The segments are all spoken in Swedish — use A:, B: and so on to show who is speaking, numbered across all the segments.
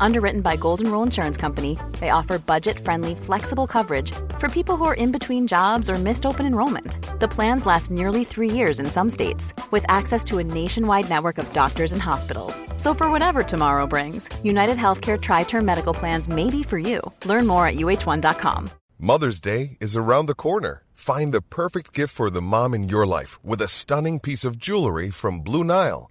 A: Underwritten by Golden Rule Insurance Company, they offer budget friendly, flexible coverage for people who are in between jobs or missed open enrollment. The plans last nearly three years in some states, with access to a nationwide network of doctors and hospitals. So, for whatever tomorrow brings, United Healthcare Tri Term Medical Plans may be for you. Learn more at uh1.com.
B: Mother's Day is around the corner. Find the perfect gift for the mom in your life with a stunning piece of jewelry from Blue Nile.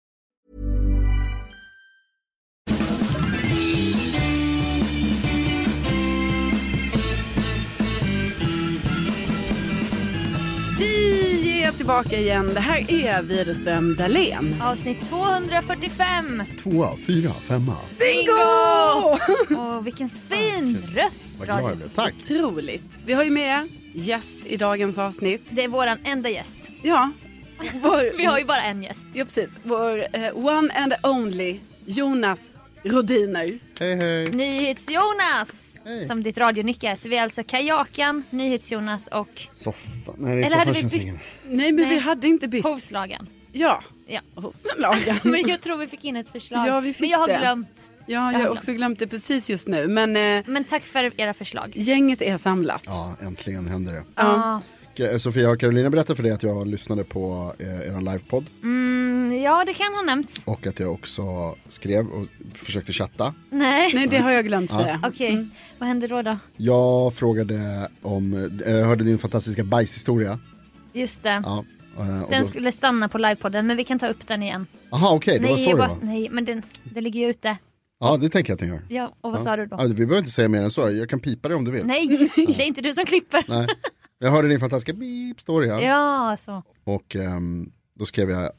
C: Vi är tillbaka igen. Det här är Widerström Dahlén.
D: Avsnitt 245.
E: Tvåa, fyra, femma.
C: Bingo!
D: Åh, vilken fin röst.
E: Ah, Vad glad
D: Radio.
E: jag blev. Tack.
C: Otroligt. Vi har ju med gäst i dagens avsnitt.
D: Det är våran enda gäst.
C: Ja, vår,
D: Vi har ju bara en gäst.
C: ja precis. Vår eh, one and only Jonas Rodiner.
E: Hej, hej.
D: NyhetsJonas!
E: Hej.
D: Som ditt radionycke är. Så vi är alltså Kajakan, NyhetsJonas och
E: Soffan. Nej, det är
D: Eller hade
E: soffan
D: vi
E: känns
D: bytt?
E: ingen.
C: Nej, men vi hade inte bytt.
D: Hovslagan.
C: Ja.
D: Ja.
C: Hovslagen.
D: Men jag tror vi fick in ett förslag.
C: Ja, vi fick
D: Men jag har
C: det.
D: glömt.
C: Ja, jag har också glömt det precis just nu. Men eh,
D: Men tack för era förslag.
C: gänget är samlat.
E: Ja, äntligen händer det.
D: Ja,
E: Okej, Sofia och Carolina berättade för dig att jag lyssnade på eh, er livepodd
D: mm, ja det kan ha nämnts.
E: och att jag också skrev och försökte chatta.
D: Nej.
C: Nej, det har jag glömt säga.
D: Okej,
E: Mm.
D: vad händer då då?
E: Jag frågade om, eh, jag hörde din fantastiska bajshistoria.
D: Just det.
E: Ja. eh, och
D: Den
E: då-
D: skulle stanna på livepodden men vi kan ta upp den igen.
E: Aha, okej, det var
D: nej,
E: så det
D: bara-
E: var.
D: nej, men den, den ligger ju ute.
E: Ja, det tänker jag att den gör.
D: Ja, och vad
E: Ja.
D: sa du då?
E: Ja, vi behöver inte säga mer än så, jag kan pipa det om du vill.
D: Nej, det är inte du som klipper.
E: Nej. Jag hörde din fantastiska beep-story.
D: Ja, så.
E: Och ehm, då skrev jag,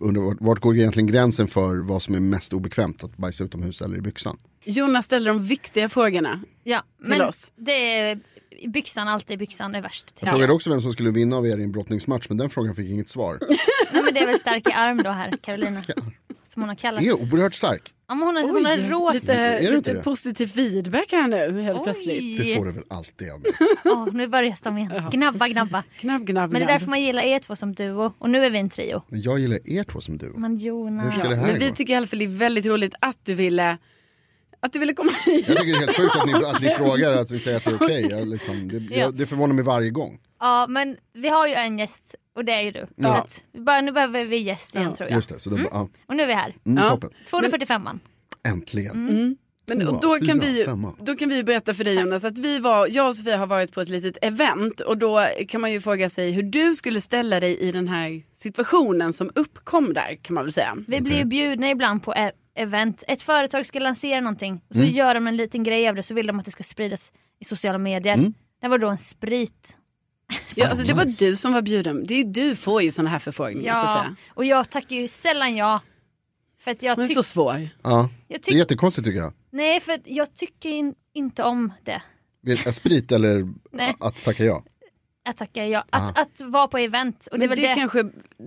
E: under, vart- vart går egentligen gränsen för vad som är mest obekvämt, att bajsa utomhus eller i byxan?
C: Jonas ställer de viktiga frågorna.
D: Ja,
C: Till
D: men
C: oss.
D: det är byxan, alltid byxan är värst.
E: Jag
D: tycker
E: frågade
D: jag.
E: också vem som skulle vinna av er i en brottningsmatch, men den frågan fick inget svar.
D: Nej, men det är väl stark i arm då här, Carolina. Som hon har kallats.
E: Det är oerhört stark.
D: Ja, men hon har, Alltså, hon har rosa.
C: lite,
E: Är det inte
C: lite
E: det?
C: positiv feedback här nu helt plötsligt.
E: Det
D: Oj,
E: får du väl alltid av mig.
D: Åh, nu börjar de igen. Gnabba, gnabba.
C: Knabb, knabb,
D: Men det är
C: knabb.
D: därför man gillar er två som duo och nu är vi en trio.
E: Men jag gillar er två som du.
D: Men
E: Hur
D: Jonas.
E: ska det här
C: Men vi
E: gå?
C: tycker i alla fall det är väldigt roligt att du ville, att du ville komma hit.
E: Jag tycker det är helt sjukt att ni, att ni frågar, att ni säger att det är okej. Jag Liksom, det, jag, det förvånar mig varje gång.
D: Ja, men vi har ju en gäst och det är ju du. Så att, vi bara, nu behöver vi gäst igen tror jag.
E: Just det, så då, ja,
D: Och nu är vi här.
E: mm,
C: Ja.
E: toppen.
D: 245 man.
E: Äntligen.
C: Men,
E: Tvåa,
C: och då, kan
E: fyra,
C: vi, ju-
E: femma.
C: då kan vi ju berätta för dig Jonas att vi var, jag och Sofia har varit på ett litet event och då kan man ju fråga sig hur du skulle ställa dig i den här situationen som uppkom där kan man väl säga.
D: Vi blir ju bjudna ibland på e- event. Ett företag ska lansera någonting och så
E: Mm.
D: gör de en liten grej av det så vill de att det ska spridas i sociala medier.
E: Mm.
D: Det var då en sprit.
C: Ja, alltså, det var du som var bjuden, det är, du får ju sådana här förfrågningar Sofia.
D: Och jag tackar ju sällan ja. För att jag,
C: Hon är
D: tyck-
C: så svår.
E: Ja.
D: jag,
E: Det är
D: tyck-
E: jättekonstigt tycker jag.
D: Nej, för att jag tycker in- inte om det.
E: Vet- är Sprit eller
D: Nej.
E: att tacka ja.
D: Att tacka ja. Att, att vara på event. Och det är
C: Men det,
D: väl det.
C: kanske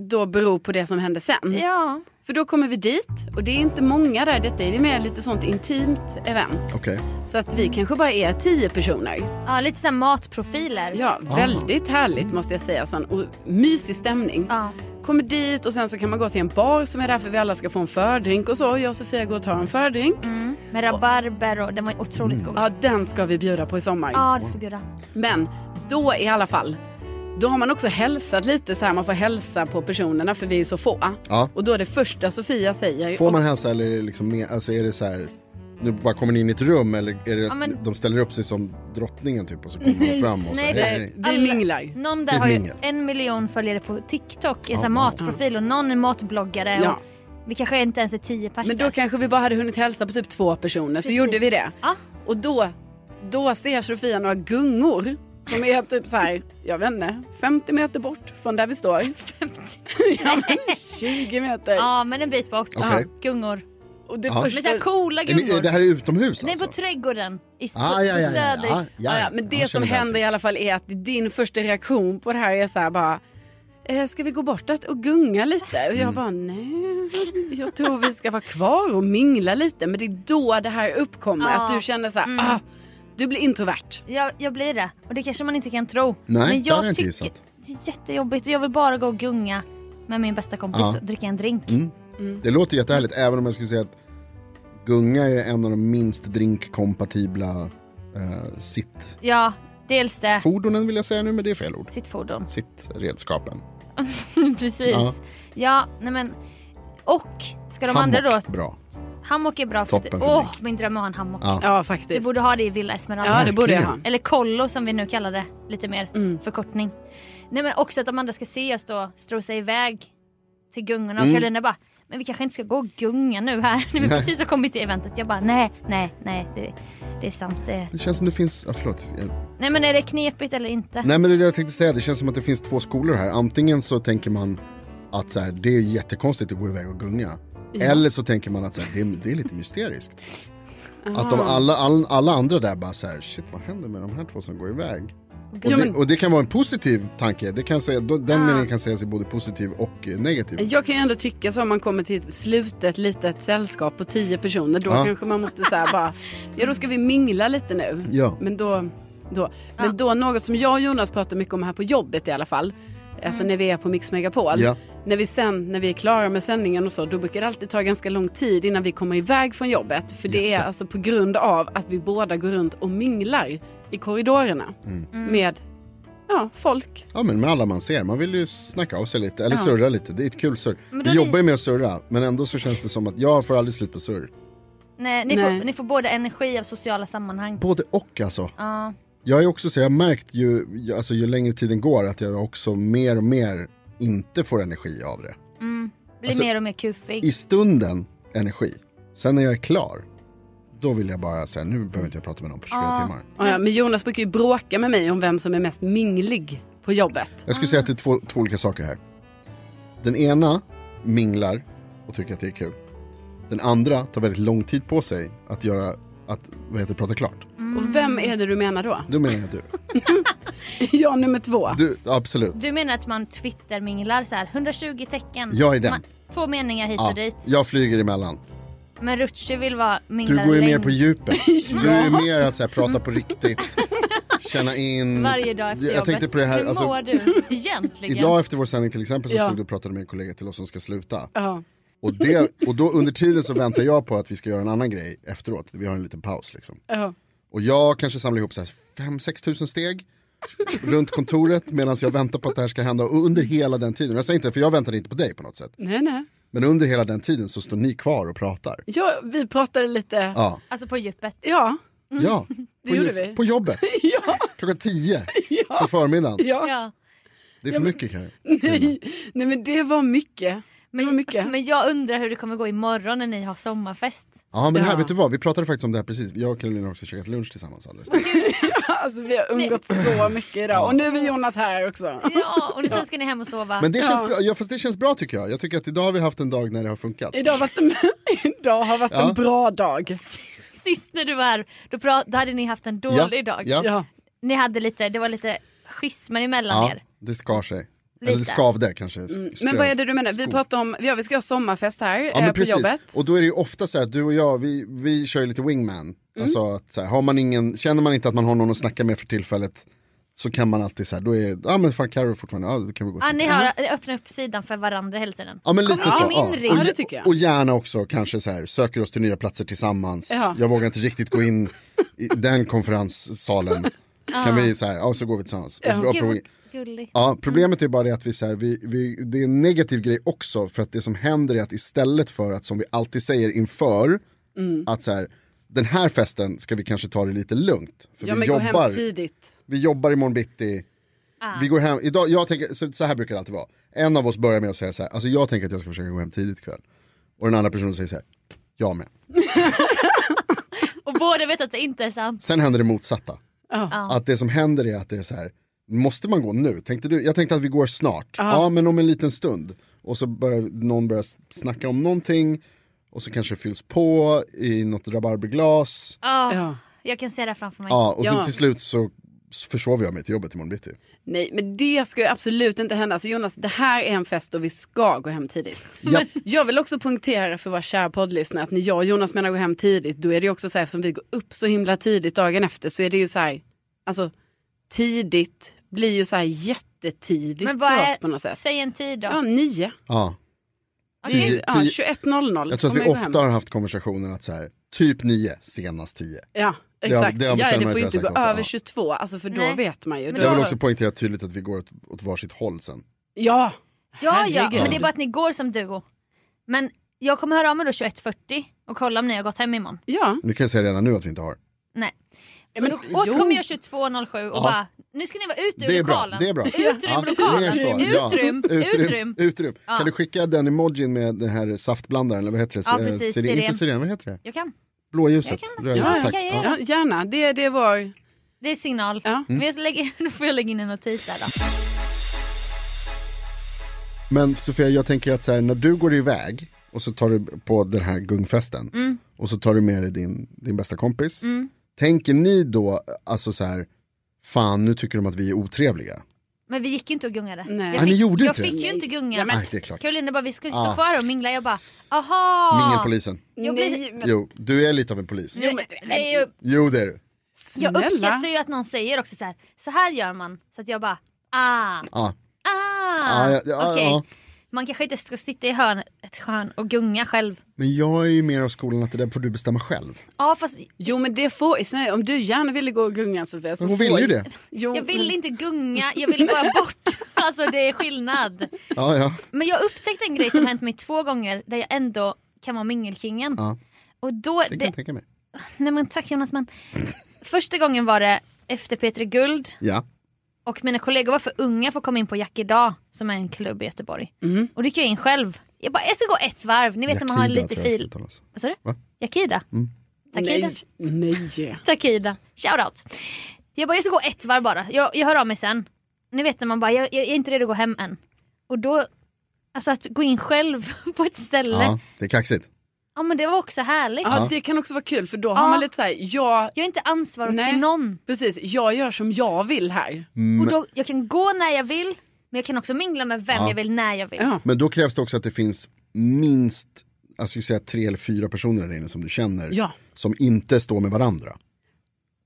C: då beror på det som hände sen.
D: Ja.
C: För då kommer vi dit och det är inte många där, detta är mer lite sånt intimt event.
E: Okej.
C: Så att vi kanske bara är tio personer.
D: ja, lite såhär matprofiler.
C: Ja, väldigt härligt måste jag säga. Sån och mysig stämning.
D: Ja.
C: Kommer dit och sen så kan man gå till en bar som är där för vi alla ska få en fördrink och så. Jag och Sofia går och tar en fördrink.
D: Mm. Med rabarber och den var
E: Mm.
D: otroligt god.
C: Ja, den ska vi bjuda på i sommar.
D: Ja, det ska vi bjuda.
C: Men då i alla fall Då har man också hälsat lite så här, man får hälsa på personerna för vi är ju så få.
E: Ja.
C: Och då är det första Sofia säger,
E: Får man hälsa eller är det liksom med, alltså är det så här, nu bara kommer ni in i ett rum eller är det att
D: men-
E: de ställer upp sig som drottningen typ och så kommer man fram och så,
D: Nej,
E: hej,
D: för-
E: hej.
C: eh, vi
D: alla-
C: minglar.
D: Någon
E: Det
D: där
E: är
D: har ju
E: mingel.
D: en miljon följare på TikTok, en sån här matprofil och någon är matbloggare.
C: Ja.
D: Och vi kanske inte ens är tio pers
C: Men
D: där.
C: då kanske vi bara hade hunnit hälsa på typ två personer, så
D: Precis.
C: gjorde vi det.
D: Ja.
C: Och då, då ser Sofia några gungor som är typ så här, jag vet inte, 50 meter bort från där vi står. 50? ja, men 20 meter.
D: Ja men en bit bort.
E: Okej.
D: Gungor.
C: Och det
E: Ja.
D: Men
C: första...
D: såhär coola
E: Är ni-
D: gungor.
E: är Det här är utomhus
D: Nej
E: alltså?
D: på trädgården. I st-
E: Ah, ja, ja,
D: på
E: ja,
D: söder.
E: ja, ja,
C: Ja, ja, men det
E: Jag
C: som
E: känner
C: händer i alla fall är att din första reaktion på det här är så här bara "Eh, Ska vi gå bort att- och gunga lite? Och jag
E: Mm.
C: bara nej, jag tror vi ska vara kvar och mingla lite. Men det är då det här uppkommer,
D: Ja. Mm.
C: att du känner så här, ah, du blir introvert.
D: Jag, jag blir det. Och det kanske man inte kan tro.
E: Nej,
D: men
E: det hade jag inte gissat.
D: det är jättejobbigt och jag vill bara gå och gunga med min bästa kompis
E: Ja.
D: och dricka en drink.
E: Det låter jättehärligt, även om jag skulle säga att gunga är en av de minst drinkkompatibla eh, sitt
D: Ja, dels det.
E: fordonen vill jag säga nu, men det är fel ord.
D: Sitt fordon.
E: Sitt redskapen.
D: Precis.
E: Ja.
D: Ja. nej men. Och ska de andra då?
E: Hammock, bra.
D: Hammock är bra. typ-
E: Toppen för
D: Åh,
E: drink.
D: min dröm är att ha en hammock.
E: Ja.
C: Ja
D: Du
C: faktiskt.
D: borde ha det i Villa Esmeralda.
C: ja det borde Mm. jag ha.
E: Verkligen.
D: Eller kollo som vi nu kallar det lite mer förkortning. Nej men också att de andra ska se oss då strosa iväg till gungorna och Karolina bara men vi kanske inte ska gå och gunga nu här när vi
E: Mm. Nej.
D: precis har kommit till eventet. Jag bara nej, nej, nej det, det är sant. Det.
E: Det känns som det finns, ja, förlåt. Jag-
D: Nej men är det knepigt eller inte?
E: Nej men det är det jag tänkte säga, det känns som att det finns två skolor här. Antingen så tänker man att så här, det är jättekonstigt att gå iväg och gunga. Eller så tänker man att så här, det, är, det är lite mysteriskt. Att de alla, all, alla andra där bara så här, shit vad händer med de här två som går iväg? Och,
C: Ja,
E: det,
C: men-
E: och det kan vara en positiv tanke, det kan säga, då- den meningen kan sägas i både positiv och eh, negativ.
C: Jag kan ju ändå tycka så om man kommer till slutet litet sällskap på tio personer. Då
E: Ja.
C: kanske man måste säga bara, ja då ska vi mingla lite nu.
E: Ja.
C: Men då, då. Men då något som jag och Jonas pratar mycket om här på jobbet i alla fall. Alltså när vi är på Mix Megapol.
E: Ja.
C: När vi sen, när vi är klara med sändningen och så, då brukar det alltid ta ganska lång tid innan vi kommer iväg från jobbet. För det är alltså på grund av att vi båda går runt och minglar i korridorerna.
E: Mm.
C: Med, ja, folk.
E: Ja men med alla man ser, man vill ju snacka av sig lite, eller surra lite, det är ett kul surr.
D: Men
E: Vi
D: då är det-
E: jobbar ju med att surra, men ändå så känns det som att jag får aldrig slut på surr.
D: Nej, ni,
C: Nej.
D: Får, ni får både energi av sociala sammanhang.
E: Både och alltså.
D: Ja.
E: Jag är också så, jag har märkt ju, alltså ju längre tiden går att jag också mer och mer inte får energi av det.
D: blir
E: Alltså,
D: mer och mer kufig.
E: I stunden, energi. Sen när jag är klar, då vill jag bara säga, nu behöver inte jag prata med någon på 24 timmar.
C: Ja, ja, men Jonas brukar ju bråka med mig om vem som är mest minglig på jobbet.
E: Jag skulle säga att det är två, två olika saker här. Den ena minglar och tycker att det är kul. Den andra tar väldigt lång tid på sig att göra, att, vad heter det, prata klart.
C: Och vem är det du menar då?
E: Då menar jag du.
C: Jag nummer två.
E: Du, absolut.
D: Du menar att man twitterminglar så här 120 tecken.
E: Jag är den.
D: Man, två meningar hit och
E: Ja,
D: dit.
E: jag flyger emellan.
D: Men Rutschi vill vara
E: Du
D: minglare
E: går ju mer
D: längre.
E: på djupet. Du är ju mer att så här, prata på riktigt. Känna in.
D: Varje dag efter
E: Jag
D: jobbet.
E: tänkte på det här.
D: Hur
E: Alltså,
D: mår du egentligen?
E: idag efter vår sändning till exempel så
C: Ja.
E: stod du och pratade med en kollega till oss som ska sluta.
C: Ja.
E: Och, det, och då under tiden så väntar jag på att vi ska göra en annan grej efteråt. Vi har en liten paus liksom.
C: Ja.
E: Och jag kanske samlar ihop så här 5-6 tusen steg runt kontoret medan jag väntar på att det här ska hända. Och under hela den tiden, jag säger inte för jag väntade inte på dig på något sätt.
C: Nej, nej.
E: Men under hela den tiden så står ni kvar och pratar.
C: Ja, vi pratade lite. Ja,
E: Ja,
D: Alltså på djupet.
C: ja,
D: Mm.
E: ja.
C: det
E: På,
C: gjorde
E: ju-
C: vi.
E: på jobbet.
C: Ja,
E: Klockan 10
C: ja,
E: på förmiddagen.
C: ja.
D: Ja.
E: Det är för mycket kan
C: Nej. nej, men det var mycket. Det var
D: Men,
C: mycket.
D: men jag undrar hur det kommer gå imorgon när ni har sommarfest.
E: Ja men här,
C: Ja.
E: vet du vad? Vi pratade faktiskt om det här precis. Jag och Karolina har också käkat lunch tillsammans alldeles nyss.
C: Alltså, vi har umgått så mycket idag. Och nu är Jonas här också.
D: Ja, och sen ska ni hem och sova.
E: Men det känns,
C: Ja.
E: bra, ja, fast det känns bra tycker jag. Jag tycker att idag har vi haft en dag när det har funkat.
C: Idag har varit en, idag har varit
E: Ja.
C: en bra dag.
D: Sist när du var här, då, pra- då hade ni haft en
E: ja.
D: dålig dag.
E: Ja.
C: Ja.
D: Ni hade lite, det var lite schismer emellan
E: ja,
D: er.
E: det skar sig. Eller det
D: Lite.
E: skavde kanske. Sk-
C: Mm. Men
E: stöv.
C: vad är det du menar? Vi
E: Skog.
C: pratar om, ja vi ska ha sommarfest här
E: Ja,
C: eh,
E: men
C: på jobbet.
E: precis. Och då är det ju ofta så här att du och jag, vi, vi kör ju lite wingman.
C: Mm.
E: Alltså att så här, har man ingen, känner man inte att man har någon att snacka med för tillfället så kan man alltid så här, då är, ja men fan Carro är fortfarande, ja då kan vi gå och
D: Ja,
E: snacka.
D: ni har öppnat upp sidan för varandra hela tiden.
E: Mm. Ja men
D: Kom
E: lite
D: in
E: så.
D: i min ring.
E: Och,
C: Ja, det tycker jag.
E: och gärna också kanske så här, söker oss till nya platser tillsammans.
C: Ja.
E: Jag vågar inte riktigt gå in i den konferenssalen. Kan vi så här, ja så går vi tillsammans. Och, och,
D: Gud,
E: prova-
D: vad- gulligt.
E: Ja, problemet är bara det att vi, så här, vi, vi, det är en negativ grej också för att det som händer är att istället för att som vi alltid säger inför
C: Mm.
E: att så här, den här festen ska vi kanske ta det lite lugnt. För
C: Ja
E: vi,
C: men gå hem
E: jobbar,
C: tidigt.
E: vi jobbar imorgon bitti, vi går hem, idag, jag tänker, så, så här brukar det alltid vara. En av oss börjar med att säga så här, alltså jag tänker att jag ska försöka gå hem tidigt ikväll. Och den andra personen säger så här, jag med.
D: Och båda vet att det inte är sant.
E: Sen händer det motsatta.
C: Ja.
E: Att det som händer är att det är så här, måste man gå nu? Tänkte du, jag tänkte att vi går snart, ja men om en liten stund. Och så börjar någon börja snacka om någonting och så kanske det fylls på i något rabarberglas.
D: Ja,
C: Ja.
D: jag kan se det framför mig.
E: Ja, och sen
C: Ja.
E: till slut så försover jag mig till jobbet imorgon bitti.
C: Nej men det ska ju absolut inte hända. Alltså Jonas det här är en fest och vi ska gå hem tidigt.
E: Ja.
C: Jag vill också punktera för våra kära poddlyssnare att när jag och Jonas menar gå hem tidigt då är det ju också så här eftersom vi går upp så himla tidigt dagen efter så är det ju så här, alltså tidigt blir ju så här jättetidigt
D: Men vad
C: för
D: är-
C: oss på något sätt.
D: Säg en tid då.
C: Ja, nio.
E: Ja.
D: Okej.
E: tio-
C: Ja, 21.00.
E: Jag tror att
C: kommer
E: vi
C: gå hem.
E: ofta har haft konversationen att så här, typ nio, senast tio.
C: Ja,
E: har-
C: exakt.
E: det har vi
C: ja,
E: känner
C: det
E: man
C: får
E: ju
C: ju inte gå
E: säkert ofta,
C: över
E: ja.
C: 22, alltså för då
D: Nej.
C: vet man ju.
D: Men
C: Då-
E: Jag vill också poängtera tydligt att vi går åt, åt varsitt håll sen.
C: Ja,
D: Ja, ja,
C: Herregud.
D: men det är bara att ni går som duo. Men jag kommer höra av mig då 21.40 och kolla om ni har gått hem imorgon.
C: ja.
E: Nu kan jag säga redan nu att vi inte har.
D: Nej. Men då återkommer jag 22.07 och bara, nu ska ni vara ute ur
E: Det är bra,
D: lokalen.
E: det är bra.
D: Utrym
E: Ja, mer så,
D: lokalen,
E: ja.
D: utrym, utrym.
E: utrym.
D: Ja.
E: Kan du skicka den emojin med den här saftblandaren, eller vad heter det?
D: Ja,
E: Eh,
D: precis,
E: siren-
D: siren.
E: Inte siren, vad heter det?
D: Jag kan.
E: Blåljuset.
D: Jag kan-
E: Rödljuset,
C: ja,
E: tack.
D: jag kan göra.
C: ja, gärna. Det, det var...
D: Det är signal.
C: Ja.
E: Mm.
D: Men jag lägger, då får jag lägga in en notis där då.
E: Men Sofia, jag tänker att så här, när du går iväg och så tar du på den här gungfesten
D: Mm.
E: och så tar du med dig din, din bästa kompis. Tänker ni då, alltså så här, fan nu tycker de att vi är otrevliga.
D: Men vi gick ju inte och gungade.
C: Nej.
D: Jag
E: Ah, ni gjorde
D: jag
E: inte det?
D: fick ju inte gunga.
E: men- Nej, det är klart.
D: Karolina bara, vi ska stå
E: Ah.
D: kvar här och mingla. Jag bara, aha!
E: Mingelpolisen.
D: Jag blir,
E: Jo, du är lite av en polis.
D: jo, men, det är ju,
E: Jo det är du.
D: jag
C: Snälla.
D: uppskattar ju att någon säger också så här, så här gör man. Så att jag bara, ah,
E: Ja.
D: ah,
E: Ja, ja, ja,
D: okej.
E: ja.
D: Man kanske inte ska sitta i hörn, ett hörn och gunga själv.
E: Men jag är ju mer av skolan att det där får du bestämma själv.
D: Ja fast
C: Jo men det får, snälla, om du gärna ville gå och gunga Sofia så
E: Men hon
C: får
E: ville ju det.
C: Jo, men-
D: jag ville inte gunga, jag ville bara bort. Alltså det är skillnad.
E: Ja, ja.
D: Men jag upptäckte en grej som hänt mig två gånger där jag ändå kan vara mingelkingen.
E: Ja.
D: Och då,
E: Det kan
D: det,
E: jag tänka mig.
D: nej men tack Jonas men. Första gången var det efter P3 Guld
E: Ja.
D: och mina kollegor var för unga för att komma in på Jack idag som är en klubb i Göteborg.
E: Mm.
D: Och då gick jag in själv. Jag bara, jag ska gå ett varv, ni vet när man har
E: Yakida
D: lite
E: tror jag det
D: fil.
E: ska uttalas.
D: Vad sa du?
E: Va? Mm.
D: Yakida? Tack Ida.
C: Nej, nej.
D: Tack Ida. Shoutout. Jag bara, jag ska gå ett varv bara. Jag, jag hör av mig sen. Ni vet när man bara, jag, jag, jag är inte redo att gå hem än. Och då, alltså att gå in själv på ett ställe. Ja,
E: Ja, det är kaxigt.
D: men det var också härligt.
C: Ja, alltså, det kan också vara kul för då har man lite så här, jag,
D: Jag är inte ansvarig
C: Nej.
D: till någon.
C: precis, jag gör som jag vill
E: Mm.
C: här.
D: Och då, jag kan gå när jag vill, men jag kan också mingla med vem jag vill när jag vill.
C: Ja.
E: Men då krävs det också att det finns minst, alltså jag skulle säga tre eller fyra personer där inne som du känner.
C: Ja.
E: Som inte står med varandra.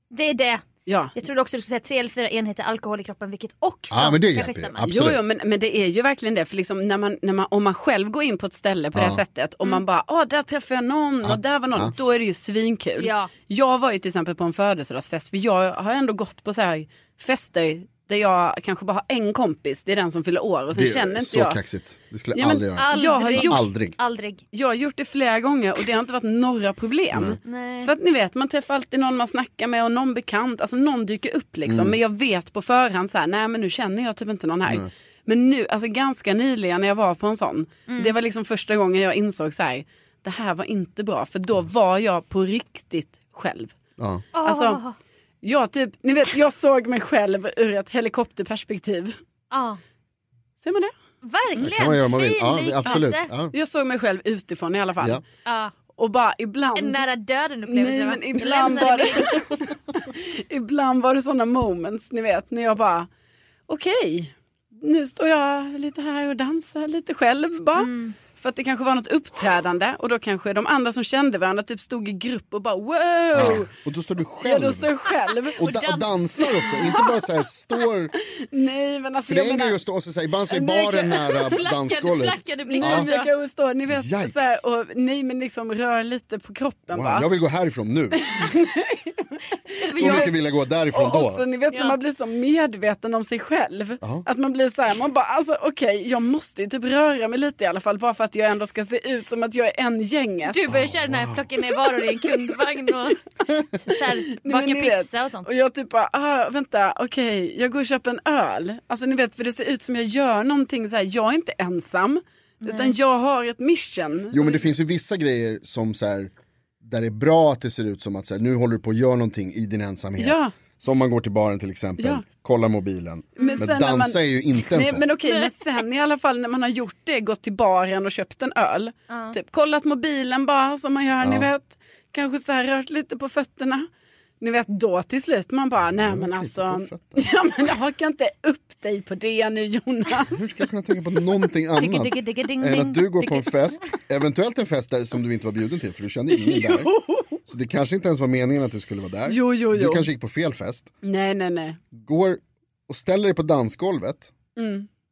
D: Det är det.
C: Ja.
D: Jag trodde också du skulle säga tre eller fyra enheter alkohol i kroppen, vilket också
E: Ja, men det
D: kanske
E: hjälper ju.
D: stämmer.
E: Absolut.
C: Jo, jo men, men det är ju verkligen det. För liksom när man, när man, om man själv går in på ett ställe på det här sättet och
D: Mm.
C: man bara, ah där träffade jag någon och där var någon.
E: Ja.
C: Då är det ju svinkul.
D: Ja.
C: Jag var ju till exempel på en födelsedagsfest för jag har ändå gått på så här fester där jag kanske bara har en kompis, det är den som fyller år och sen
E: det
C: känner
E: är
C: inte
E: så
C: jag.
E: kaxigt. Det skulle
C: Ja,
E: jag
C: men-
E: aldrig göra.
C: Jag har gjort-
E: Aldrig.
D: Aldrig.
C: Jag har gjort det flera gånger och det har inte varit några problem.
E: Mm.
D: Nej.
C: För att ni vet, man träffar alltid någon man snackar med och någon bekant, alltså någon dyker upp liksom.
E: Mm.
C: Men jag vet på förhand så här, nej men nu känner jag typ inte någon här. Men nu, alltså ganska nyligen när jag var på en sån,
D: Mm.
C: det var liksom första gången jag insåg så här, det här var inte bra, för då var jag på riktigt själv.
E: Ja.
D: Ah.
C: Alltså, jag typ, ni vet, jag såg mig själv ur ett helikopterperspektiv.
D: Ja.
C: Ser man det?
D: Verkligen,
E: Kan man göra om man vill.
D: fin
E: Ja,
D: liknelse.
E: absolut. Ja.
C: Jag såg mig själv utifrån i alla fall.
E: Ja.
D: Ja.
C: Och bara ibland...
D: En nära döden upplevelse.
C: Mm. Nej
D: va?
C: men
D: Jag
C: ibland
D: lämnade
C: var det,
D: min-
C: ibland var det sådana moments ni vet när jag bara okej nu står jag lite här och dansar lite själv bara För att det kanske var något uppträdande och då kanske de andra som kände varandra typ stod i grupp och bara wow.
E: Och då står du
C: Ja,
E: själv
C: då står jag själv.
E: och, da- och dansar också, inte bara så här står...
C: Nej men alltså
E: För
C: jag
E: det är en
C: menar.
E: grej att stå och så här, ibland så är
C: Nej,
E: baren
C: jag-
E: nära dansgolvet.
D: flackade
C: Nej
D: blicken.
C: men jag kan ju stå, ni vet
E: Yikes.
C: så här, och nej men liksom rör lite på kroppen
E: Wow,
C: bara.
E: jag vill gå härifrån nu. Så mycket vill jag gå därifrån
C: Och
E: då.
C: också alltså, ni vet när man blir så medveten om sig själv.
E: Ja.
C: Att man blir så här, man bara alltså okej jag måste ju typ röra mig lite i alla fall bara för att jag ändå ska se ut som att jag är en i gänget.
D: Du börjar köra den här plocka ner varor i en kundvagn och så här,
C: Nej,
D: baka
C: men ni vet.
D: pizza och sånt.
C: Och jag typ bara, ah, vänta, okej, jag går och köper en öl. Alltså ni vet, för det ser ut som jag gör någonting så här, jag är inte ensam. Utan jag har ett mission.
E: Jo men det finns ju vissa grejer som så här, där det är bra att det ser ut som att så här, nu håller du på att göra någonting i din ensamhet.
C: Ja.
E: Som man går till baren till exempel,
C: Ja.
E: kollar mobilen. Men,
C: sen när
E: dansa
C: man-
E: är ju inte en
C: Nej,
E: sån.
C: men okej, men sen i alla fall när man har gjort det, gått till baren och köpt en öl. Typ kollat mobilen bara som man gör, ni
E: Ja.
C: vet. Kanske så här rört lite på fötterna. Ni vet då till slut man bara, nej men alltså. Ja men haka inte upp dig på det nu Jonas.
E: Hur ska jag kunna tänka på någonting annat?
F: Digga, digga, ding,
E: Än
F: ding.
E: att du går på en fest, eventuellt en fest där som du inte var bjuden till för du kände ingen där. Så det kanske inte ens var meningen att du skulle vara där.
C: Jo, jo, jo.
E: Du kanske gick på fel fest.
C: Nej nej nej.
E: Går och ställer dig på dansgolvet,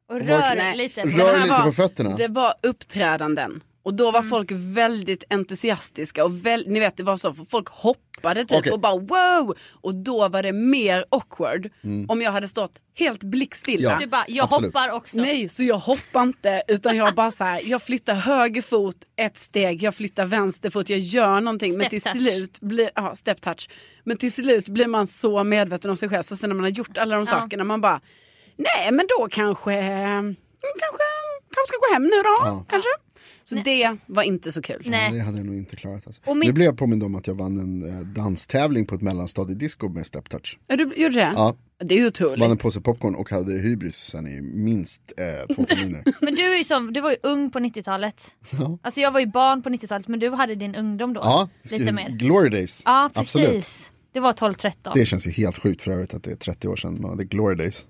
D: Och rör
C: Nej.
D: lite.
E: rör
C: här
E: dig lite
C: var-
E: på fötterna.
C: Det var uppträdanden. Och då var folk väldigt entusiastiska och väl, ni vet det var så, folk hoppade typ
E: Okej.
C: och bara wow! Och då var det mer awkward om jag hade stått helt blickstilla.
E: Mm. Ja.
D: Du bara, jag
E: Absolut.
D: hoppar också.
C: Nej, så jag hoppar inte utan jag bara så här, jag flyttar höger fot ett steg, jag flyttar vänster fot, jag gör någonting. men
D: Step
C: till
D: touch.
C: slut blir, ja, step touch. Men till slut blir man så medveten om sig själv så sen när man har gjort alla de sakerna man bara, nej men då kanske, mm, kanske, kanske ska gå hem nu då, kanske. Så det var inte så kul.
D: Nej.
E: Det hade jag nog inte klarat. Alltså.
D: min-
E: Nu blev jag påmind om att jag vann en eh, danstävling på ett mellanstadiedisco med steptouch.
C: Ja, Du gjorde det?
E: Ja,
C: Det är ju
E: vann en
C: otroligt.
E: påse popcorn och hade hybris sen i minst eh, två terminer.
D: Men du, är ju som, du var ju ung på 90-talet. Alltså jag var ju barn på 90-talet men du hade din ungdom då.
E: ja,
D: Lite mer.
E: Glory days.
D: Ja precis.
E: Absolut.
D: Det var 12-13.
E: Det känns ju helt sjukt för övrigt att det är 30 år sedan man hade glory days.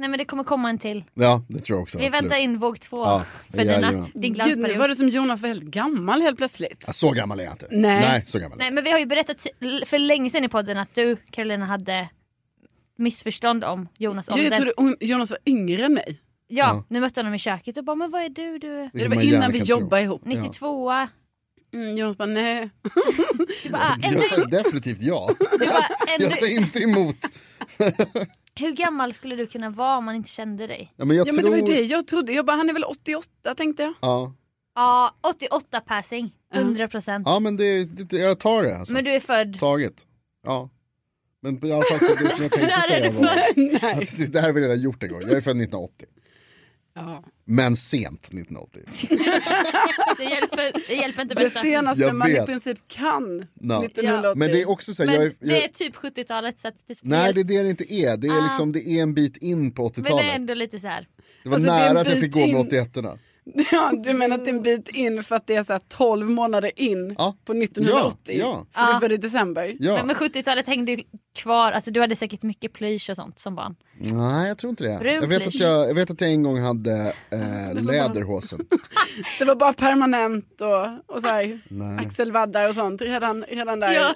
D: Nej men det kommer komma en till.
E: Ja, det tror jag också.
D: Vi
E: absolut.
D: väntar in våg två
E: Ja,
D: för dina,
E: jajamän.
D: din
C: Gud, nu
D: glansperiod.
C: var det som Jonas var helt gammal helt plötsligt.
E: Ja, så gammal är jag inte.
C: Nej.
E: så gammal är
D: Nej
E: jag inte.
D: men vi har ju berättat till- för länge sedan i podden att du Carolina hade missförstånd om Jonas
C: Jag,
D: ålder.
C: jag trodde hon- Jonas var yngre än mig.
D: Ja, nu mötte jag honom i köket och bara men vad är du? Du är
E: är
C: Det
E: man
C: var
E: gärna
C: innan vi
E: kan tro.
C: jobbade ihop.
D: 92 a
C: Mm, Jonas bara, nej.
D: Du bara, ah,
E: Jag
D: ändå,
E: säger definitivt ja.
D: du bara ändå,
E: Jag säger inte emot.
D: hur gammal skulle du kunna vara om man inte kände dig?
E: Ja, men jag
C: Ja, men
E: tror...
C: det var ju det jag trodde. Jag bara, han är väl 88 tänkte jag.
E: Ja.
D: Ja, 88 passing. 100 procent.
E: ja, men det, det, det- jag tar det alltså.
D: Men du är född...
E: Taget. Ja. Men i alla fall så det som jag tänkte säga var att det där har vi redan gjort en gång. Jag är född 1980.
C: Ja.
E: Men sent 1980.
D: Det hjälper, det hjälper inte
C: Det
D: bästa.
C: senaste
E: Jag
C: man i
E: vet.
C: princip kan.
E: Ja.
C: 1980.
E: Men det är också så här,
D: Men
E: jag, är- jag,
D: det är typ 70-talet så att det spelar
E: Nej det är det det inte är. Det är, liksom, det är en bit in på
D: Men det är
E: 80-talet.
D: ändå lite så här.
E: Det var
C: Alltså, det är en
E: nära att jag
C: bit
E: fick gå med
C: in.
E: 81 erna
C: ja, du menar att det är en bit in för att det är så här 12 månader in
E: Ja.
C: på 1980?
E: Ja,
C: För du föddes i december?
E: Ja.
D: Men 70-talet hängde ju kvar, alltså du hade säkert mycket plysch och sånt som barn.
E: Nej jag tror inte det.
D: Brun
E: Jag vet, att
D: plysch.
E: jag, jag vet att jag en gång hade eh, läderhosen.
C: Det var bara permanent och, och så här, axelvaddar och sånt redan, redan där
D: Ja.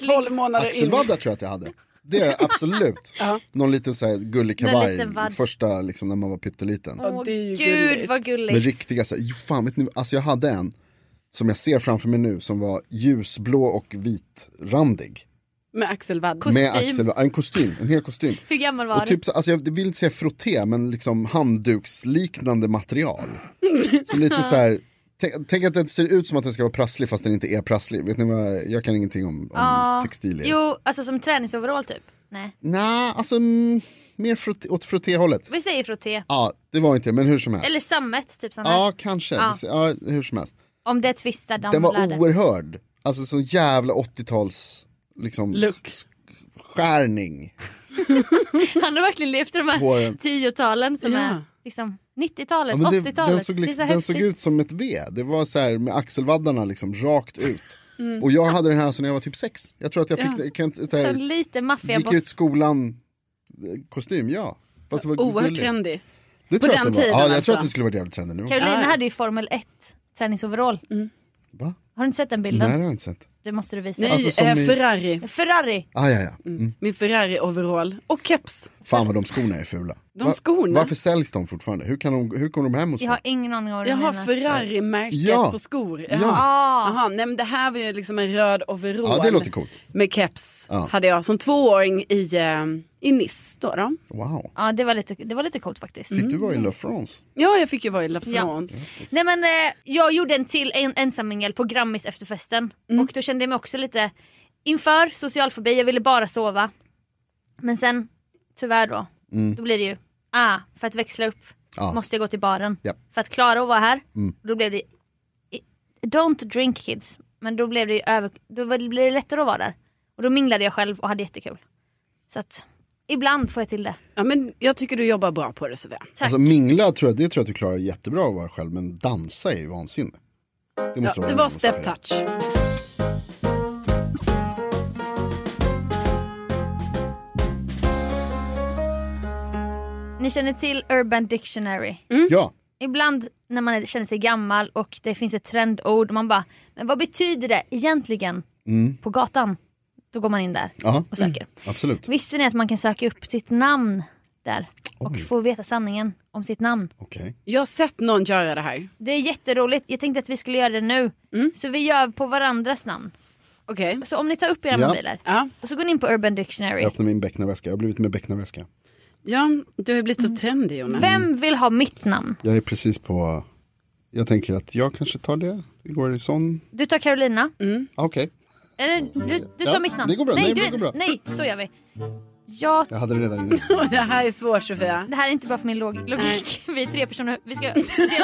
C: eh, 12 månader in.
E: Axelvaddar tror jag att jag hade. Det är jag absolut. Någon liten så här gullig kavaj.
D: liten vadd.
E: första liksom när man var pytteliten.
C: Ja, det är ju
D: Gud
C: gulligt.
D: vad gulligt.
E: Med riktiga så här, jo, fan vet ni, alltså jag hade en som jag ser framför mig nu som var ljusblå och vitrandig.
C: Med axelvadd.
D: Kostym.
E: Med axel, en kostym, en hel kostym.
D: Hur gammal var
E: Och
D: du?
E: typ, så- alltså jag vill inte säga frotté, men liksom handduksliknande material. Så lite så här, tänk, tänk att den ser ut som att den ska vara prasslig fast den inte är prasslig. Vet ni vad, jag kan ingenting om, om textilier.
D: Jo, alltså som träningsoverall typ. Nej,
E: Nej, alltså mm, mer frotté, åt frottéhållet.
D: vi säger frotté.
E: Ja, det var inte det, men hur som helst.
D: Eller sammet, typ sån här.
E: Ja, kanske. Ja. hur som helst.
D: Om det är twistad
E: Den var
D: damläder.
E: oerhörd. Alltså sån jävla 80-tals liksom
C: Look.
E: skärning.
D: Han har verkligen levt i de
E: På
D: här
E: den.
D: tiotalen som
C: Ja.
D: är liksom 90-talet,
E: Ja, men det,
D: 80-talet.
E: den såg,
D: det är så
E: liksom, den
D: häftigt.
E: såg ut som ett V. Det var så här med axelvaddarna liksom rakt ut.
C: Mm.
E: Och jag hade den här så när jag var typ sex. Jag tror att jag fick jag kan inte, så
D: Så
E: här,
D: lite
E: Gick ut
D: maffiaboss.
E: skolan, eh, kostym, ja. Fast det var
C: Oerhört
E: gulligt.
C: trendig.
E: Det
C: På
E: tror jag
C: den
E: att det var.
C: tiden
E: Ja, jag
C: alltså.
E: tror att det skulle varit jävligt trendigt nu.
D: Carolina
C: Ja, ja.
D: hade ju Formel 1 träningsoverall.
E: Va?
D: Har du inte sett den
E: Mm. Nej, det
D: bilden?
E: har jag inte sett.
D: Det måste du visa.
C: Nej,
E: Alltså, som
C: eh,
E: i-
C: Ferrari.
D: Ferrari.
E: Ah, ja, ja. Mm.
C: Min Ferrari-overall. Och keps.
E: Fan vad de skorna är fula.
C: De skorna.
E: Varför säljs de fortfarande? Hur, kan de, hur kommer de hem hos
D: Jag
E: dem?
D: har ingen aning om vad
C: Jag
D: du
C: har
D: menar.
C: Ferrari-märket
E: Ja.
C: på skor.
E: Ja.
C: Jaha.
D: Ah.
C: Jaha, nej men det här var ju liksom en röd overall.
E: Ja, det låter coolt.
C: Med keps
E: Ja.
C: hade jag som tvååring i, eh, i Nice då, då.
E: Wow.
D: Ja, det var lite, det var lite coolt faktiskt.
E: Fick du
C: Mm.
E: vara i La France?
C: Ja, jag fick ju vara i La
D: Ja.
C: France.
D: Nej men eh, jag gjorde en till en ensammingel på Grammis efter festen.
E: Mm.
D: Och då kände jag mig också lite inför social fobi, jag ville bara sova. Men sen, tyvärr då, då blir det ju, ah, för att växla upp
E: Mm. Ja.
D: måste jag gå till baren.
E: Japp. Mm.
D: För att klara att vara här, då blev det, i- don't drink kids, men då blev det ju över, då var- blev det lättare att vara där. Och då minglade jag själv och hade jättekul. Så att, ibland får jag till det.
C: Ja, men jag tycker du jobbar bra på det Sofia.
D: Tack.
E: Alltså mingla, tror jag, det tror jag att du klarar jättebra att vara själv, men dansa är ju vansinne. Det, måste
C: Ja,
E: vara
C: det
E: en
C: var
E: av de
C: step
E: största-
C: touch.
D: Ni känner till Urban Dictionary?
E: Ja,
D: ibland när man är- känner sig gammal och det finns ett trendord och man bara, men vad betyder det egentligen på gatan? Då går man in där
E: Mm. ja,
D: och söker.
E: Mm. absolut.
D: Visste ni att man kan söka upp sitt namn där och
E: Oj.
D: få veta sanningen om sitt namn?
E: Okej.
C: Jag har sett någon göra det här.
D: Det är jätteroligt, jag tänkte att vi skulle göra det nu. Så vi gör på varandras namn.
C: Okej.
D: Så om ni tar upp era
E: Ja.
D: mobiler
C: Ja.
D: och så går ni in på Urban Dictionary.
E: Jag öppnar min becknarväska. Jag har blivit med becknarväska.
C: ja, du har ju blivit så trendig Jonas.
D: Vem vill ha mitt namn?
E: Jag är precis på... Jag tänker att jag kanske tar det. Det går i sån...
D: Du tar Carolina.
E: Ah, Okej,
D: Eller du, du tar
E: Ja,
D: mitt namn.
E: det går bra. Nej,
D: du,
E: men det går bra.
D: nej, så gör vi. Jag
E: jag hade det redan innan.
C: Det här är svårt Sofia.
D: Det här är inte bra för min log- logik. Vi är tre personer. Vi ska dela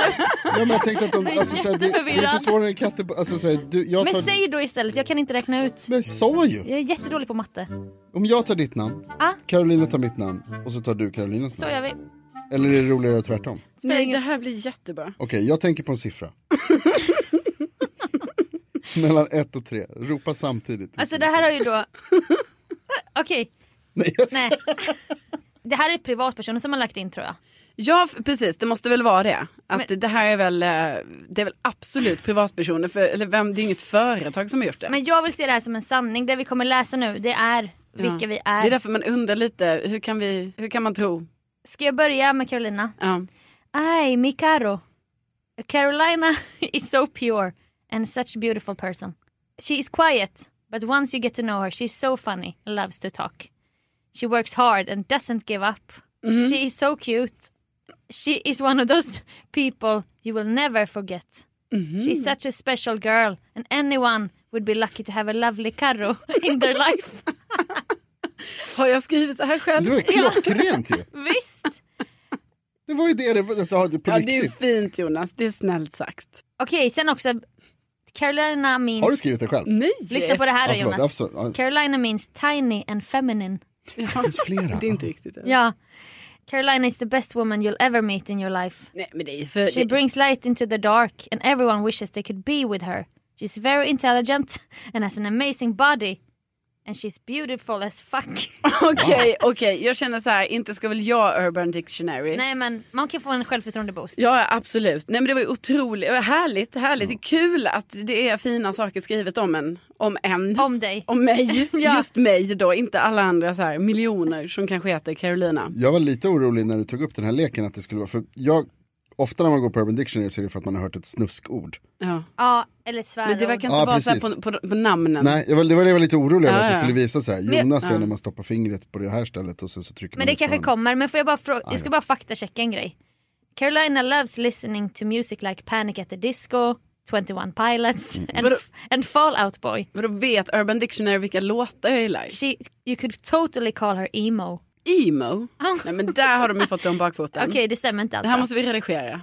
D: upp.
E: ja, men jag tänkte att de... Alltså, såhär, det, det är inte
D: jätteförvirrad.
E: svårare än katter... på- Alltså, såhär, du, jag tar...
D: Men säg då istället. Jag kan inte räkna ut.
E: Men jag sa ju!
D: Jag är jättedålig på matte.
E: Om jag tar ditt namn,
D: Ah.
E: Carolina tar mitt namn och så tar du Carolinas
D: Så
E: namn.
D: gör vi.
E: Eller är det roligare tvärtom? Okej,
C: Nej, det här blir jättebra.
E: jag tänker på en siffra. Mellan ett och tre. Ropa samtidigt.
D: Alltså det här har ju då... Okej,
E: Nej, jag ska...
D: nej. Det här är privatpersoner som har lagt in tror jag.
C: Ja, f- precis. Det måste väl vara det. Att det här är väl, eh, det är väl absolut privatpersoner. För, eller vem, det är inget företag som har gjort det.
D: Men jag vill se det här som en sanning. Det vi kommer läsa nu det är vilka
C: Ja.
D: vi
C: Det är
D: är.
C: därför man undrar lite, hur kan, vi, hur kan man tro?
D: Ska jag börja med Carolina?
C: Ja.
D: Ay, mi caro. Carolina is so pure and such a beautiful person. She is quiet, but once you get to know her, she's so funny and loves to talk. She works hard and doesn't give up.
E: Mm-hmm.
D: She is so cute. She is one of those people you will never forget.
E: Mm-hmm.
D: She's such a special girl, and anyone would be lucky to have a lovely Caro in their life.
C: Har jag skrivit det här själv?
E: Det var klockrent ju.
D: Visst?
E: Det var ju det det var. Alltså, på
C: Ja, det är ju
E: riktigt.
C: fint Jonas, det är snällt sagt.
D: Okej, sen också. Carolina means...
E: Har du skrivit det själv?
C: Nej!
D: Lyssna på det här då
E: Ja, förlåt,
D: Jonas.
E: ja, förlåt. Ja.
D: Carolina means tiny and feminine.
E: Det finns flera.
C: Det är inte riktigt det.
D: Ja. Carolina is the best woman you'll ever meet in your life.
C: Nej, men Eh, det är ju för...
D: She brings light into the dark and everyone wishes they could be with her. She's very intelligent and has an amazing body. And she's beautiful as fuck.
C: Okej, okej. Jag känner så här, inte ska väl jag Urban Dictionary?
D: Nej men man kan få en självförtroendeboost.
C: Ja, absolut. Nej, men det var ju otroligt, det var härligt, härligt.
D: Mm.
C: Det är kul att det är fina saker skrivet om en. Om en.
D: Om dig.
C: Om mig.
D: Ja.
C: Just mig då, inte alla andra så här miljoner som kanske heter Carolina.
E: Jag var lite orolig när du tog upp den här leken att det skulle vara, för jag, ofta när man går på Urban Dictionary så är det för att man har hört ett snuskord.
C: Ja.
D: Ja, eller ett svärord.
C: Men det verkar inte
E: Ja,
C: vara så här
E: precis.
C: på, på, på namnen.
E: Nej, jag var, det var det jag var lite orolig över
C: Ja,
E: att det
C: ja.
E: skulle visa så här, Jonas
C: ja.
E: är när man stoppar fingret på det här stället och sen så trycker
D: Men
E: man
D: det
E: ut på
D: kanske
E: den.
D: kommer. Men får jag bara fråga, jag ska bara faktachecka en grej. Carolina loves listening to music like Panic at the Disco, 21 Pilots and,
C: Vadå?
D: and Fallout Boy.
C: Vadå vet Urban Dictionary vilka låtar jag gillar?
D: She, you could totally call her emo.
C: Emo?
D: Ah.
C: Nej men där har de ju fått det om bakfoten.
D: Okej, det stämmer inte
C: Mm. Det
D: alltså.
C: här måste vi redigera.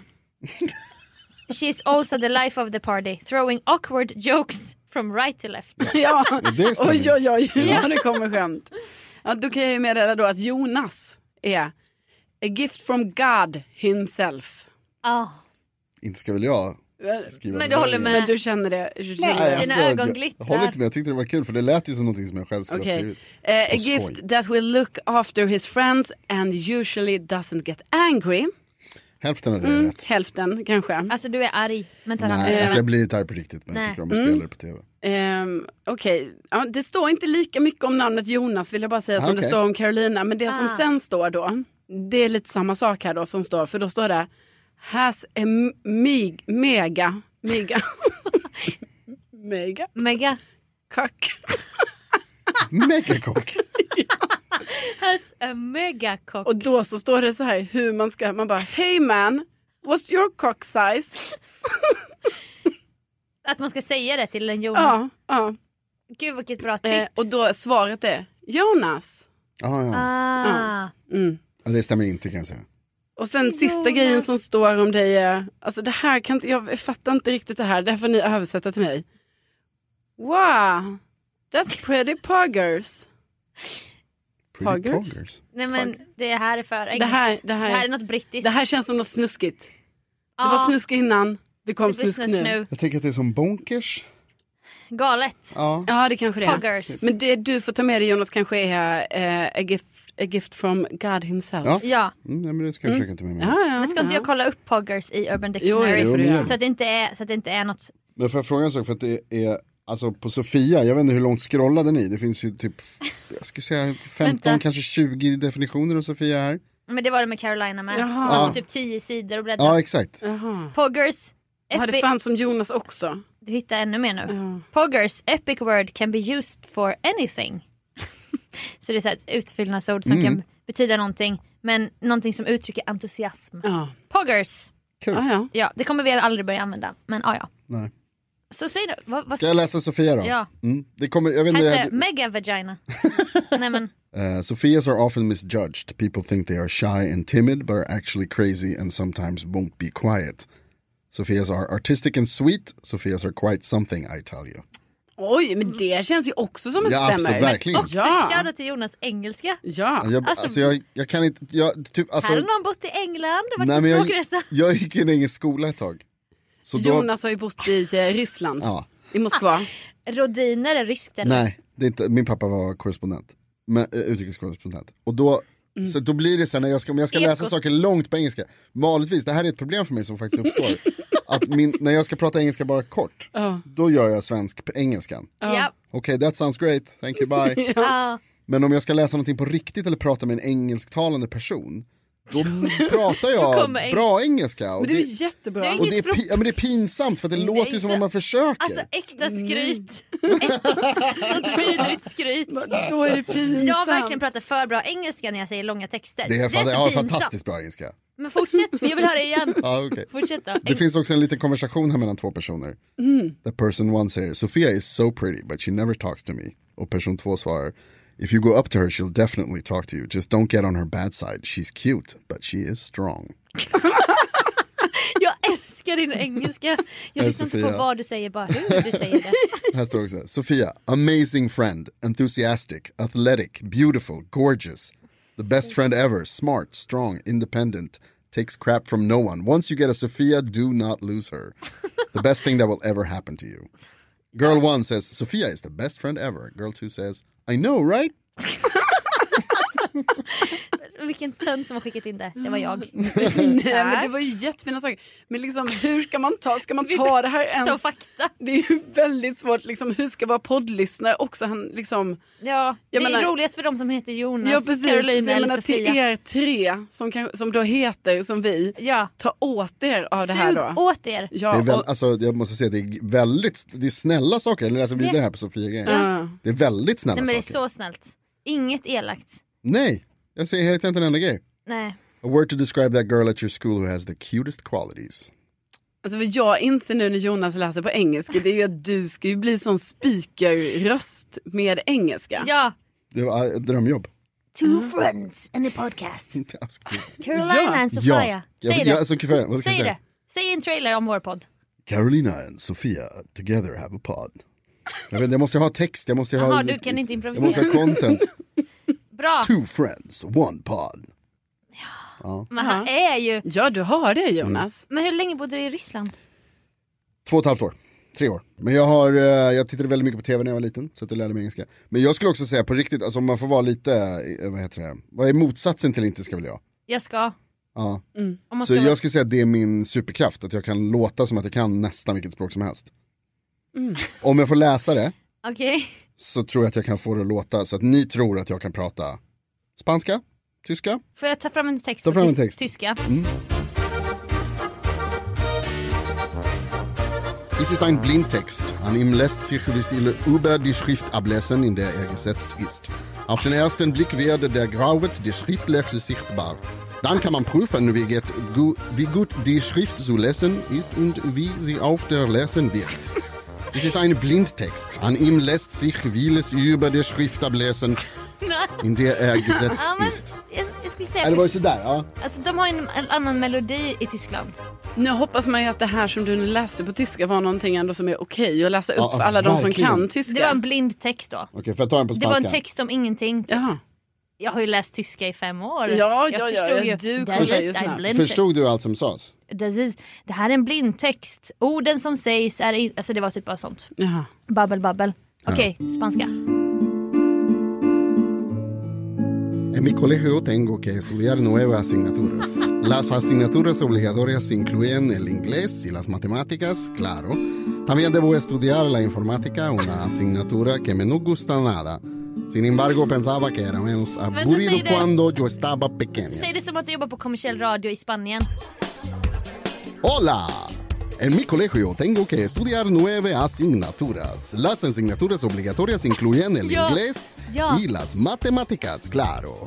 D: She's also the life of the party, throwing awkward jokes from right to left.
C: ja.
E: det stämmer.
C: oj, oj, oj, ja. det kommer skämt. Ja, då kan jag ju meddela då att Jonas är a gift from God himself.
D: Ah,
E: Inte ska väl jag skriva
D: Men
E: det
D: du
E: där
D: håller
E: igen.
D: med?
C: Men du känner det?
E: Nej,
D: Dina
E: alltså,
D: ögon
E: jag, jag
D: glittrar.
E: håller inte med, jag tyckte det var kul för det lät ju som någonting som jag själv skulle ha
C: Okej.
E: skrivit.
C: Eh, a
E: På skoj.
C: gift that will look after his friends and usually doesn't get angry.
E: Hälften av det är
C: Mm,
E: rätt.
C: hälften kanske.
D: Alltså du är arg, men tar hand om
E: Nej,
D: det.
E: alltså jag blir inte arg på riktigt men jag
D: Nej.
E: tycker om att
C: Mm.
E: spela det på tv.
C: Ehm, Okej, ja, det står inte lika mycket om namnet Jonas vill jag bara säga
E: Ah,
C: som det
E: okej.
C: står om Carolina. Men det som
D: Ah.
C: sen står då, det är lite samma sak här då som står, för då står det Has a m- mig, mega, mega, mega
D: Mega.
C: kack.
E: Megakock!
D: Has a mega cock.
C: Och då så står det så här hur man ska, man bara Hey man, what's your cock size?
D: Att man ska säga det till en Jonas.
C: ja, ja.
D: Gud vilket bra tips.
C: Eh, och då svaret är Jonas.
E: Ah, ja.
D: ah.
C: Mm.
E: Ja, Det stämmer inte kan jag säga.
C: Och sen sista grejen som står om dig är, alltså det här kan inte, jag fattar inte riktigt det här, det här får ni översätta till mig. Wow, that's pretty poggers.
E: Pretty
C: Poggers.
E: poggers.
D: Nej men det här är för engelskt.
C: Det här- det här-
D: är något brittiskt.
C: Det här känns som något snuskigt. Det
D: Ja,
C: var snusk innan, det kom
D: det blir
C: snusk, nu.
E: Jag tänker att det är som bonkers.
D: Galet.
E: Ja.
C: Ja, det kanske det är.
D: Poggers.
C: Men det du får ta med dig Jonas kanske är eh, a, gift, a gift from God himself.
E: Ja.
D: Ja.
E: Mm, nej, men det ska jag försöka ta med mig.
C: Ja, ja,
D: Men ska inte jag kolla upp poggers i Urban
C: Jo,
D: Dictionary?
C: det får du
E: Jo,
C: göra.
D: Så att det inte är, så att det inte är något.
E: Men får jag fråga en sak? För att det är, alltså på Sofia, jag vet inte hur långt scrollade ni? Det finns ju typ, jag skulle säga 15,
D: Vänta.
E: kanske 20 definitioner av Sofia här.
D: Men det var det med Carolina med.
C: Jaha.
D: Alltså typ tio sidor och bläddra.
E: Ja, exakt.
C: Jaha.
D: Poggers.
C: Ja, det
D: epi-
C: fanns som Jonas också.
D: Du hittar ännu mer nu.
C: Ja.
D: Poggers, epic word can be used for anything. så det är så här ett utfyllnadsord
E: Mm.
D: som kan betyda någonting. Men någonting som uttrycker entusiasm.
C: Ja.
D: Poggers.
E: Kul.
C: Ja, ja.
D: Ja, det kommer vi aldrig börja använda. Men ja, ja.
E: Nej.
D: Så säg då. Vad, vad,
E: Ska jag läsa Sofia då?
D: Ja.
E: Mm. Det kommer, jag vet
D: här
E: inte,
D: säger
E: det
D: jag mega vagina. Nej men.
E: Uh, Sophias are often misjudged. People think they are shy and timid, but are actually crazy and sometimes won't be quiet. Sophias are artistic and sweet. Sophias are quite something, I tell you.
D: Ah,
C: Oj, men det känns ju också som en
E: Ja, absolut,
C: stämmer.
E: verkligen.
D: Också
C: Ja.
D: shoutout till Jonas engelska.
C: Ja.
E: Jag, alltså,
D: Alltså-
E: jag, jag kan inte, jag, typ, alltså,
D: här har någon bott i England och varit
E: nej,
D: på
E: men jag,
D: språkresa.
E: jag gick in i ingen skola ett tag. Så då,
C: Jonas har ju bott i eh, Ryssland,
E: ja,
C: i Moskva.
D: Rodiner är ryskt eller?
E: nej, det är inte, min pappa var korrespondent, men, eh, utrikeskorrespondent. Och då, så då blir det så här, när jag ska, om jag ska läsa
D: Mm. Eko.
E: saker långt på engelska, vanligtvis, det här är ett problem för mig som faktiskt uppstår, att min, när jag ska prata engelska bara kort,
C: Ja.
E: då gör jag svensk på engelskan.
D: Ja.
E: Okej, that sounds great, thank you, bye.
D: Ja.
E: Men om jag ska läsa någonting på riktigt eller prata med en engelsktalande person, då pratar jag
D: kommer eng-
E: bra engelska. Och
C: Men det är ju jättebra.
D: Det är
E: och det är,
D: Inget
E: pi- ja, men det är pinsamt för att det låter ju som om man försöker.
D: Alltså äkta skryt. Äkta- Sånt vidrigt skryt.
C: Då är det pinsamt.
D: Jag har verkligen pratat för bra engelska när jag säger långa texter.
E: det är, fan,
D: så
E: jag har
D: pinsamt.
E: fantastiskt bra engelska.
D: Men fortsätt, för jag vill höra igen.
E: Ja, okej.
D: Fortsätt då.
E: Det finns också en liten konversation här mellan två personer. The person one säger, Sofia is so pretty but she never talks to me. Och person två svarar, if you go up to her she'll definitely talk to you. Just don't get on her bad side. She's cute but she is strong.
D: Jag älskar din engelska. Jag
E: Hej,
D: lyssnar inte på
E: Sofia.
D: vad du säger, bara hur du säger det.
E: Här står också, Sofia, amazing friend, enthusiastic, athletic, beautiful, gorgeous. The best friend ever, smart, strong, independent, takes crap from no one. Once you get a Sofia, do not lose her. The best thing that will ever happen to you. Girl one says, Sofia is the best friend ever. Girl two says, I know, right?
D: Vilken tönt som har skickat in det. Det var jag.
C: Nej, men det var ju jättefina saker. Men liksom, hur ska man ta, ska man ta det här ens?
D: Som fakta.
C: det är ju väldigt svårt, liksom, hur ska vara poddlyssnare också? Han, liksom,
D: Ja, det
C: Jag
D: är
C: menar-
D: roligast för de som heter Jonas,
C: ja, precis. Så
D: Carolina
C: jag
D: eller
C: menar, till
D: Sofia.
C: er tre som, kan, som då heter som vi,
D: Ja.
C: ta åt er av det här
D: Sug
C: då.
D: åt er.
C: Ja,
E: Det är väl,
C: och-
E: alltså, jag måste säga, det är väldigt, det är snälla saker. Jag läser vidare här på Sofia-grejen.
C: ja.
E: Det är väldigt snälla
D: Nej, men det är
E: saker.
D: så snällt. Inget elakt.
E: Nej, jag säger helt inte en enda grej.
D: Nej.
E: A word to describe that girl at your school who has the cutest qualities.
C: Alltså, vad jag inser nu när Jonas läser på engelska, det är ju att du ska ju bli sån speakerröst med engelska.
D: Ja.
E: Det var ett ah, drömjobb.
D: Two friends and a podcast.
E: Inte askul.
D: Carolina
C: Ja.
D: and Sofia.
E: Ja,
D: Säg
E: ja,
D: det.
E: alltså, Sofia, vad ska jag
D: Säg
E: säga?
D: det. Säg en trailer om vår podd.
E: Carolina and Sofia together have a pod. Jag, vet, jag måste ha text, jag måste ha...
D: Jaha, du kan inte
E: Jag måste
D: improvisera.
E: ha content.
D: Bra.
E: Two friends, one pod.
D: Men han är ju...
C: Ja, du har det Jonas.
D: Men hur länge bodde du i Ryssland?
E: Två och ett halvt år. Tre år. Men jag har, eh, jag tittade väldigt mycket på tv när jag var liten, så att jag lärde mig engelska. Men jag skulle också säga på riktigt, alltså om man får vara lite, eh, vad heter det, vad är motsatsen till inte ska väl jag?
D: Jag ska.
E: Ja.
C: Mm.
D: Om man
E: Så
D: ska
E: jag skulle säga att det är min superkraft, att jag kan låta som att jag kan nästan vilket språk som helst.
C: Mm.
E: Om jag får läsa det
D: vara- Okej.
E: så tror jag att jag kan få det att låta så att ni tror att jag kan prata spanska, tyska.
D: Får jag ta fram en text
E: Ta
D: på
E: fram en
D: tys-
E: text. Mm.
D: tyska?
E: Dies ist ein Blindtext. An ihm lässt sich die Stille über die Schrift ablesen, in der er gesetzt ist. Auf den ersten Blick werde der Grauwert der Schriftlehre sichtbar. Dann kann man prüfen, wie, geht, gu- wie gut die Schrift zu lesen ist und wie sie auf der Lesen wirkt. Es ist ein Blindtext. An ihm lässt sich vieles über die Schrift ablesen, in der er gesetzt
D: Ja, men
E: ist.
D: jag, jag skulle säga
E: Eller var det
D: att
E: sådär? Ja.
D: alltså, de har en, en annan melodi i Tyskland.
C: Nu hoppas man ju att det här som du nu läste på tyska var någonting ändå som är okej att läsa upp
E: Ja,
C: för alla de som
E: verkligen.
C: kan
D: Det var
C: tyska.
D: en blind text då.
E: Okej, får jag ta den på
D: Det
E: spanska?
D: var en text om ingenting. typ.
C: Jaha.
D: Jag har ju läst tyska i fem år.
C: Ja, ja, ja,
D: förstod
C: ja,
D: ju.
C: du
D: Das
C: kollar
D: ist
C: ju
D: ein
C: snabbt.
D: blind text.
E: Förstod du also allt som sades?
D: Das ist- Det här är en blind text. Orden som sägs är... i- Alltså det var typ bara sånt.
C: Jaha.
D: Babbel, babbel. Okej, spanska.
E: En mi colegio tengo que estudiar nuevas asignaturas. Las asignaturas obligatorias incluyen el inglés y las matemáticas, claro. También debo estudiar la informática, una asignatura que me no gusta nada. Sin embargo, pensaba que era menos aburrido
D: säg det.
E: cuando yo estaba pequeña.
D: Säg det som att du jobbar på kommersiell radio i Spanien.
E: Hola. En mi colegio tengo que estudiar nueve asignaturas. Las asignaturas obligatorias incluyen el
D: Ya,
E: inglés
D: ya.
E: y las matemáticas, claro.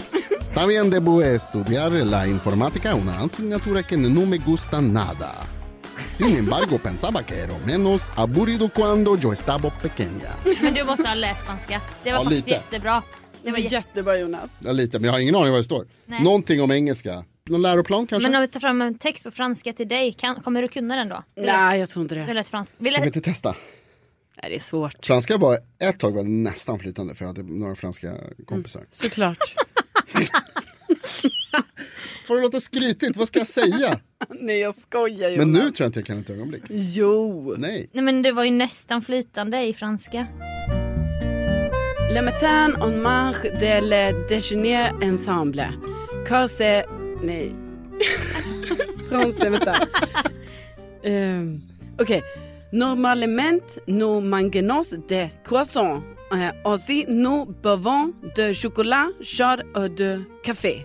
E: También debo estudiar la informática, una asignatura que no me gusta nada. Sin embargo, pensaba que era menos aburrido cuando yo estaba pequeña.
D: Men du måste ha läst spanska. Det var
E: Ja,
D: faktiskt
E: lite.
D: jättebra.
C: Det
D: Det
C: var
D: var
C: jättebra Jonas.
E: Ja, lite, men jag har ingen aning vad det står.
D: Nej.
E: Någonting om engelska. Någon läroplan kanske?
D: Men om vi tar fram en text på franska till dig, kan, kommer du kunna den då? Du läste-
C: Nej jag tror inte det.
D: Du
C: Nej,
D: läste franska. Vi
E: Jag
D: läste,
E: vill inte testa.
C: det är svårt.
E: Franska var ett tag var nästan flytande för jag hade några franska kompisar.
C: Såklart.
E: Får det låta skrytigt? Vad ska jag säga?
C: Nej jag skojar Jonas.
E: Men nu tror jag inte jag kan ett ögonblick.
C: Mm. Jo.
E: Nej.
D: nej men det var ju nästan flytande i franska.
C: Le matin on marche de le déjeuner ensemble. Car c'est... Nej. Français, vänta. Ehm, Okej. Normalement nous mangeons de croissants. Eh, aussi nous buvons de chocolat, char och de café.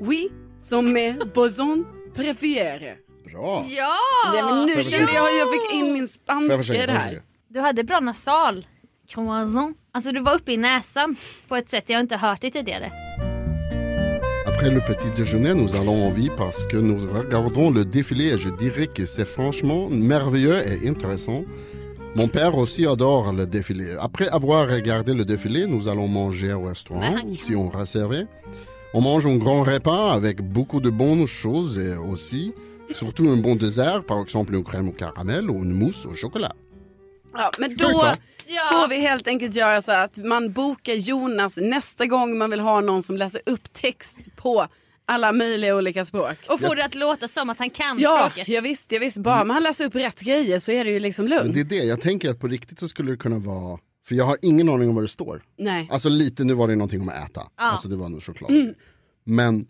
C: Oui, som är boson préféré.
E: Bra.
D: Ja!
C: Nej men nu
E: jag
C: kände jag hur jag fick in min
E: Får jag
C: spanska i
E: försöka?
C: det
E: Får jag försöka?
C: här.
D: Du hade bra nasal. Croissant. Alltså du var uppe i näsan på ett sätt jag inte hört det tidigare.
E: Après le petit déjeuner, nous allons en vie parce que nous regardons le défilé et je dirais que c'est franchement merveilleux et intéressant. Mon père aussi adore le défilé. Après avoir regardé le défilé, nous allons manger au restaurant, si on réservait. On mange un grand repas avec beaucoup de bonnes choses et aussi, surtout un bon dessert, par exemple une crème au caramel ou une mousse au chocolat.
C: Ja, men
E: Sjukt,
C: då
E: va?
C: får vi helt enkelt göra så att man bokar Jonas nästa gång man vill ha någon som läser upp text på alla möjliga olika språk.
D: Och får det att låta som att han kan
C: Ja,
D: språket.
C: jag visst, jag visst. Bara man läser upp rätt grejer så är det ju liksom
E: Men
C: lugnt.
D: Mm.
E: det är det, jag tänker att på riktigt så skulle det kunna vara, för jag har ingen aning om vad det står.
C: Nej.
E: Alltså lite, nu var det någonting om att äta, alltså det var nog choklad. Men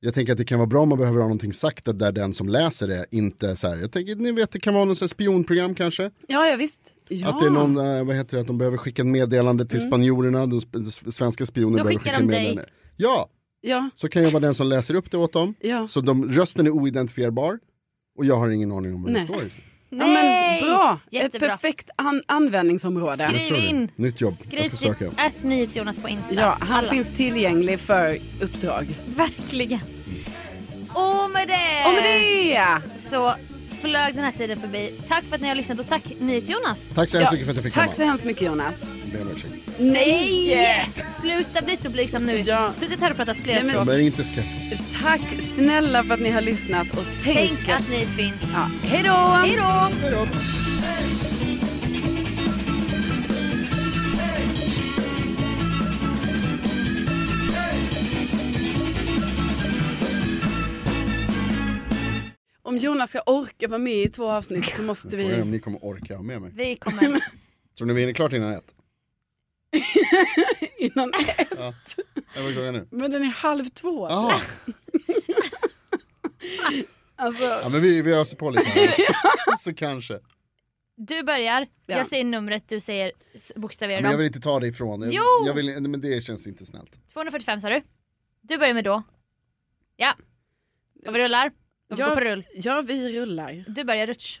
E: jag tänker att det kan vara bra om man behöver ha någonting sagt där den som läser det inte så här, jag tänker ni vet det kan vara något så här spionprogram kanske.
C: Ja, ja visst. Ja.
E: Att det är någon, eh, vad heter det, att de behöver skicka ett meddelande till spanjorerna, de, sp- de s- svenska
D: Mm.
E: spioner
D: Då
E: behöver
D: skickar
E: skicka
D: de dig.
E: meddelande. Ja,
C: ja.
E: så kan jag vara den som läser upp det åt dem.
C: Ja.
E: Så de, rösten är oidentifierbar och jag har ingen aning om vad
C: Nej.
E: det står.
C: ja, men bra.
D: Jättebra.
C: Ett perfekt an- användningsområde.
D: Skriv
E: tror det.
D: in.
E: Nytt jobb.
D: Skriv
E: Jag ska söka.
D: till ett nyhetsjonas på Insta.
C: Ja, han finns tillgänglig för uppdrag.
D: Verkligen. Och med det,
C: Och med det!
D: så flög den här tiden förbi. Tack för att ni har lyssnat och tack NyhetsJonas.
E: Tack så hemskt mycket för att jag fick
C: Tack så
E: komma.
C: hemskt mycket Jonas.
E: Ber om ursäkt.
C: Nej!
D: Sluta bli så blygsam nu.
C: Ja.
D: Suttit här och pratat flera
C: Nej, men-
D: språk.
E: Jag blir inte skeptisk.
C: Tack snälla för att ni har lyssnat och tänk,
D: Tänk att ni finns.
C: Ja, hej då!
D: Hej då!
C: Om Jonas ska orka vara med i två avsnitt så måste
E: Frågan är om
C: vi...
E: ni kommer orka ha med mig.
D: Vi kommer.
E: Tror ni vi hinner klart innan ett?
C: Innan...
E: Ja. Vad är klockan nu?
C: Men den är halv två.
E: Jaha.
C: Alltså,
E: Ja men vi, vi öser på lite här. Så kanske.
G: Du börjar,
C: Ja.
G: jag säger numret, du säger s- bokstaverar
E: Men jag
G: dem.
E: vill inte ta det ifrån. Jag,
G: Jo!
E: Jag vill, nej, men det känns inte snällt.
G: 245 sa du. Du börjar med då. Ja. Och vi rullar. Och vi
C: Ja.
G: går på rull.
C: ja, vi rullar.
G: Du börjar rutsch.